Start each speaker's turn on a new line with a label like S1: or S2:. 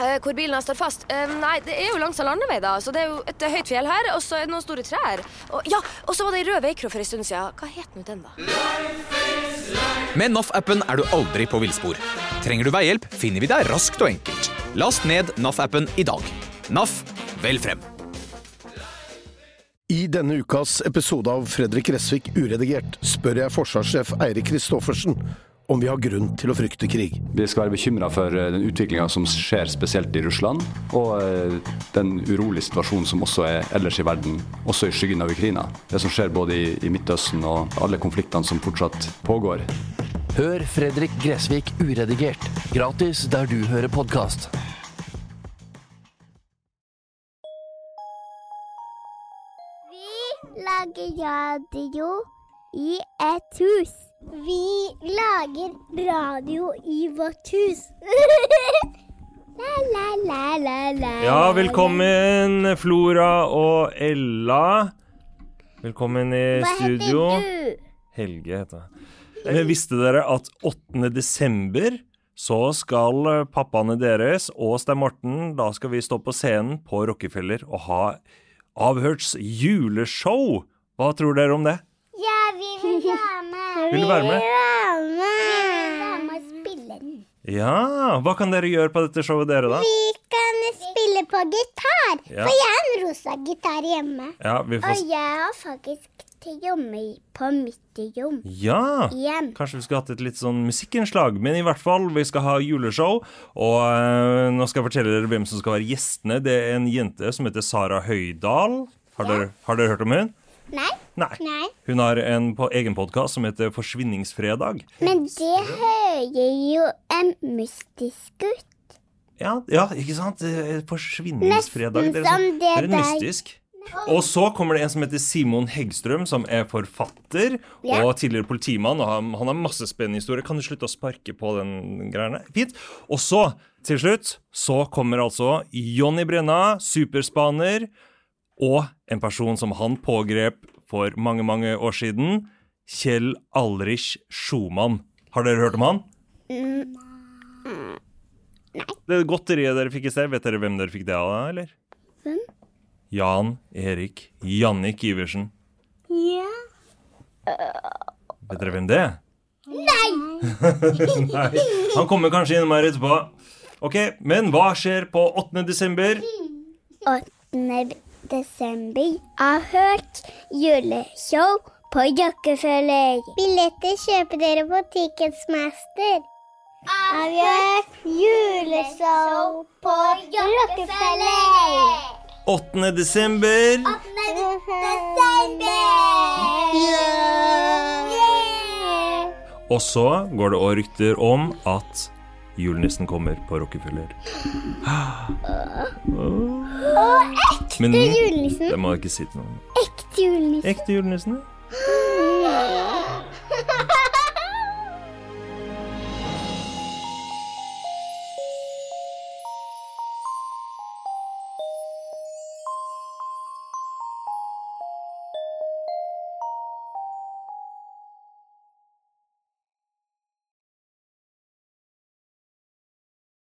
S1: Eh, Hvor bilen har stått fast? Eh, Nei, det er jo langs en landevei, da. Så det er jo et eh, høyt fjell her, og så er det noen store trær. Og, ja, og så var det ei rød veikro for ei stund siden. Hva het nå den, da?
S2: Med NAF-appen er du aldri på villspor. Trenger du veihjelp, finner vi deg raskt og enkelt. Last ned NAF-appen i dag. NAF vel frem.
S3: I denne ukas episode av Fredrik Gressvik uredigert spør jeg forsvarssjef Eirik Kristoffersen om vi har grunn til å frykte krig.
S4: Vi skal være bekymra for eh, den utviklinga som skjer spesielt i Russland, og eh, den urolige situasjonen som også er ellers i verden, også i skyggen av Ukraina. Det som skjer både i, i Midtøsten og alle konfliktene som fortsatt pågår.
S5: Hør Fredrik Gressvik uredigert. Gratis der du hører podkast.
S6: Vi lager radio i et hus. Vi lager radio i vårt hus. la, la, la, la, la.
S7: Ja, velkommen Flora og Ella. Velkommen i
S6: Hva
S7: studio.
S6: heter du?
S7: Helge heter jeg. Eh, Visste dere at 8. desember så skal eh, pappaene deres og Stein Morten Da skal vi stå på scenen på Rockefeller og ha Avhørts juleshow. Hva tror dere om det?
S6: Ja, vi vil være med.
S7: Vil du være med?
S6: være med. Vi vil være med og spille den.
S7: Ja. Hva kan dere gjøre på dette showet, dere, da?
S6: Vi kan spille på gitar,
S7: Ja.
S6: for jeg har en rosa gitar hjemme.
S7: Ja, vi får
S6: Og
S7: s-
S6: jeg har faktisk til jomme i- på mitt rom
S7: Ja.
S6: igjen.
S7: Kanskje vi skulle hatt et litt sånn musikkinnslag, men i hvert fall, vi skal ha juleshow. Og eh, nå skal jeg fortelle dere hvem som skal være gjestene. Det er en jente som heter Sara Høydahl. Har, dere, har dere hørt om hun?
S6: Nei?
S7: Nei.
S6: Nei.
S7: Hun har en på egen podkast som heter Forsvinningsfredag.
S6: Men det hører jo en mystisk ut.
S7: Ja, ja ikke sant? Eh,
S6: Nesten
S7: Forsvinningsfredag. Det er, sånn,
S6: som det
S7: det er
S6: der.
S7: mystisk. Og så kommer det en som heter Simon Heggstrøm, som er forfatter
S6: Ja.
S7: og tidligere politimann. Og han, han har masse spennende historier. Kan du slutte å sparke på den greiene? Fint. Og så, til slutt, så kommer altså Jonny Brenna, superspaner, og en person som han pågrep for mange, mange år siden. Kjell Alrich Schumann. Har dere hørt om han? Det godteriet dere fikk i sted, vet dere hvem dere fikk det av, eller?
S6: Hvem?
S7: Jan Erik Jannik Iversen.
S6: Ja.
S7: Vet dere hvem det er? Nei! Han kommer kanskje innom her etterpå. Ok, men hva skjer på 8. desember?
S6: 8. desember har hørt juleshow på Rockefeller. Billetter kjøper dere på Ticketsmaster. Avgjør juleshow på Rockefeller.
S7: 8. desember!
S6: 8. desember! Yeah!
S7: Og så går det også rykter om at julenissen kommer på Rockefeller.
S6: Og ekte
S7: Men
S6: julenissen.
S7: det må jeg ikke si til noen.
S6: Ekte julenissen.
S7: Ekte julenissen? ja.